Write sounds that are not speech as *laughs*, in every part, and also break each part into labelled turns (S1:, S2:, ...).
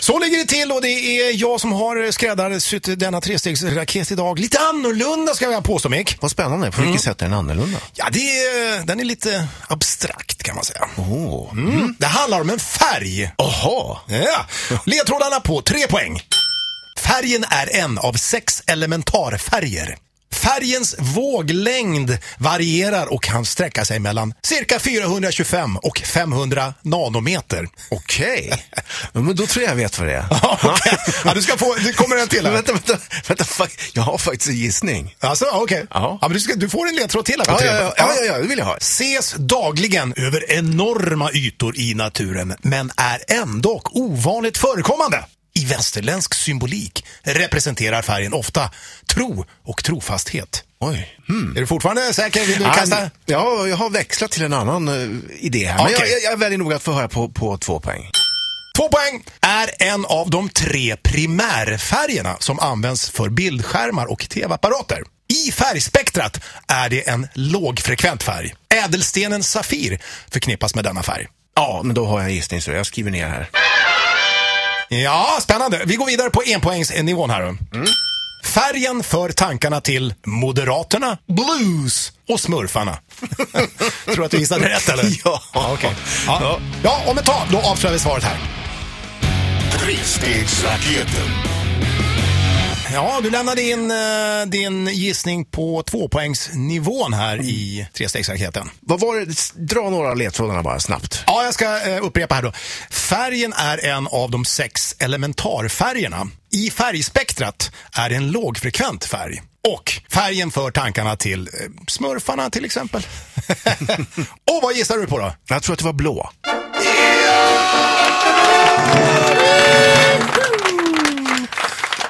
S1: Så ligger det till och det är jag som har skräddarsytt denna trestegsraket idag. Lite annorlunda ska jag påstå Mick. Mm.
S2: Vad spännande. På vilket sätt är den annorlunda?
S1: Ja, det är, den är lite abstrakt kan man säga. Mm. Det handlar om en färg.
S2: Jaha.
S1: Ja. Ledtrådarna på tre poäng. Färgen är en av sex elementarfärger. Färgens våglängd varierar och kan sträcka sig mellan cirka 425 och 500 nanometer.
S2: Okej. Ja, Men då tror jag jag vet vad det är.
S1: *laughs* Ja, okej. ja, du ska få, det kommer en till
S2: Men
S1: här.
S2: vänta, vänta, vänta. fuck. Jag har faktiskt en gissning.
S1: Alltså, okej. Ja.
S2: Ja.
S1: men du, ska, du får en ledtråd till här på
S2: Ja,
S1: tre.
S2: ja, ja, ja, ja, ja, det vill jag ha.
S1: Ses dagligen över enorma ytor i naturen, men är ändå ovanligt förekommande. I västerländsk symbolik representerar färgen ofta tro och trofasthet. Hmm.
S2: Oj.
S1: Är du fortfarande säker? Vill du
S2: Ah,
S1: kasta?
S2: Ja, jag har växlat till en annan eh, idé här. Men
S1: Okej.
S2: jag, jag, jag väljer nog att få höra på, på två poäng.
S1: Två poäng! Är en av de tre primärfärgerna som används för bildskärmar och tv-apparater. I färgspektrat är det en lågfrekvent färg. Ädelstenen Safir förknippas med denna färg.
S2: Ja, men då har jag en gissning så jag skriver ner här.
S1: Ja, spännande. Vi går vidare på enpoängsnivån här. då. Färgen för tankarna till Moderaterna, Blues och Smurfarna. Tror du att du gissade rätt eller?
S2: Ja.
S1: okej. ja. ja, om ett tag då avslöjar vi svaret här.
S3: Trestegsraketen.
S1: Ja, du lämnade in eh, din gissning på tvåpoängsnivån här i trestegsraketen.
S2: Vad var det? S- Dra några av ledtrådarna bara snabbt.
S1: Ja, jag ska eh, upprepa här då. Färgen är en av de sex elementarfärgerna. I färgspektrat är det en lågfrekvent färg. Och färgen för tankarna till eh, smurfarna till exempel. *laughs* och vad gissar du på då?
S2: Jag tror att det var blå.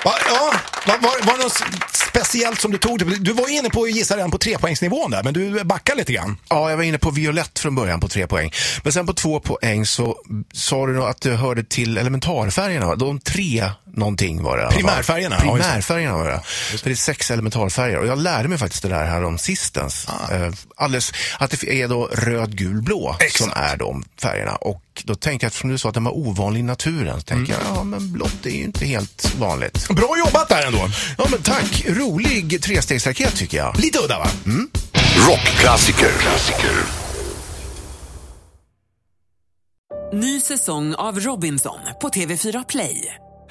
S1: Va, ja, va, var, var det något s- speciellt som du tog? det? Du var inne på att gissa redan på trepoängsnivån där, men du backar lite grann.
S2: Ja, jag var inne på violett från början på tre poäng. Men sen på två poäng så sa du nog att du hörde till elementarfärgerna. va? De tre någonting var det. i alla fall.
S1: Primärfärgerna, ja, just det.
S2: Primärfärgerna var det. Så det är sex elementarfärger. Och jag lärde mig faktiskt det där här om sistens. Eh, alldeles, att det är då röd, gul, blå som är de färgerna. Och då tänkte jag, eftersom du sa att den var ovanlig i naturen, så tänkte jag, ja men blått är ju inte helt vanligt.
S1: Bra jobbat där ändå.
S2: Ja men tack, rolig trestegsraket tycker jag.
S1: Lite udda va?
S3: Rockklassiker. Klassiker.
S4: Ny säsong av Robinson på TV4 Play.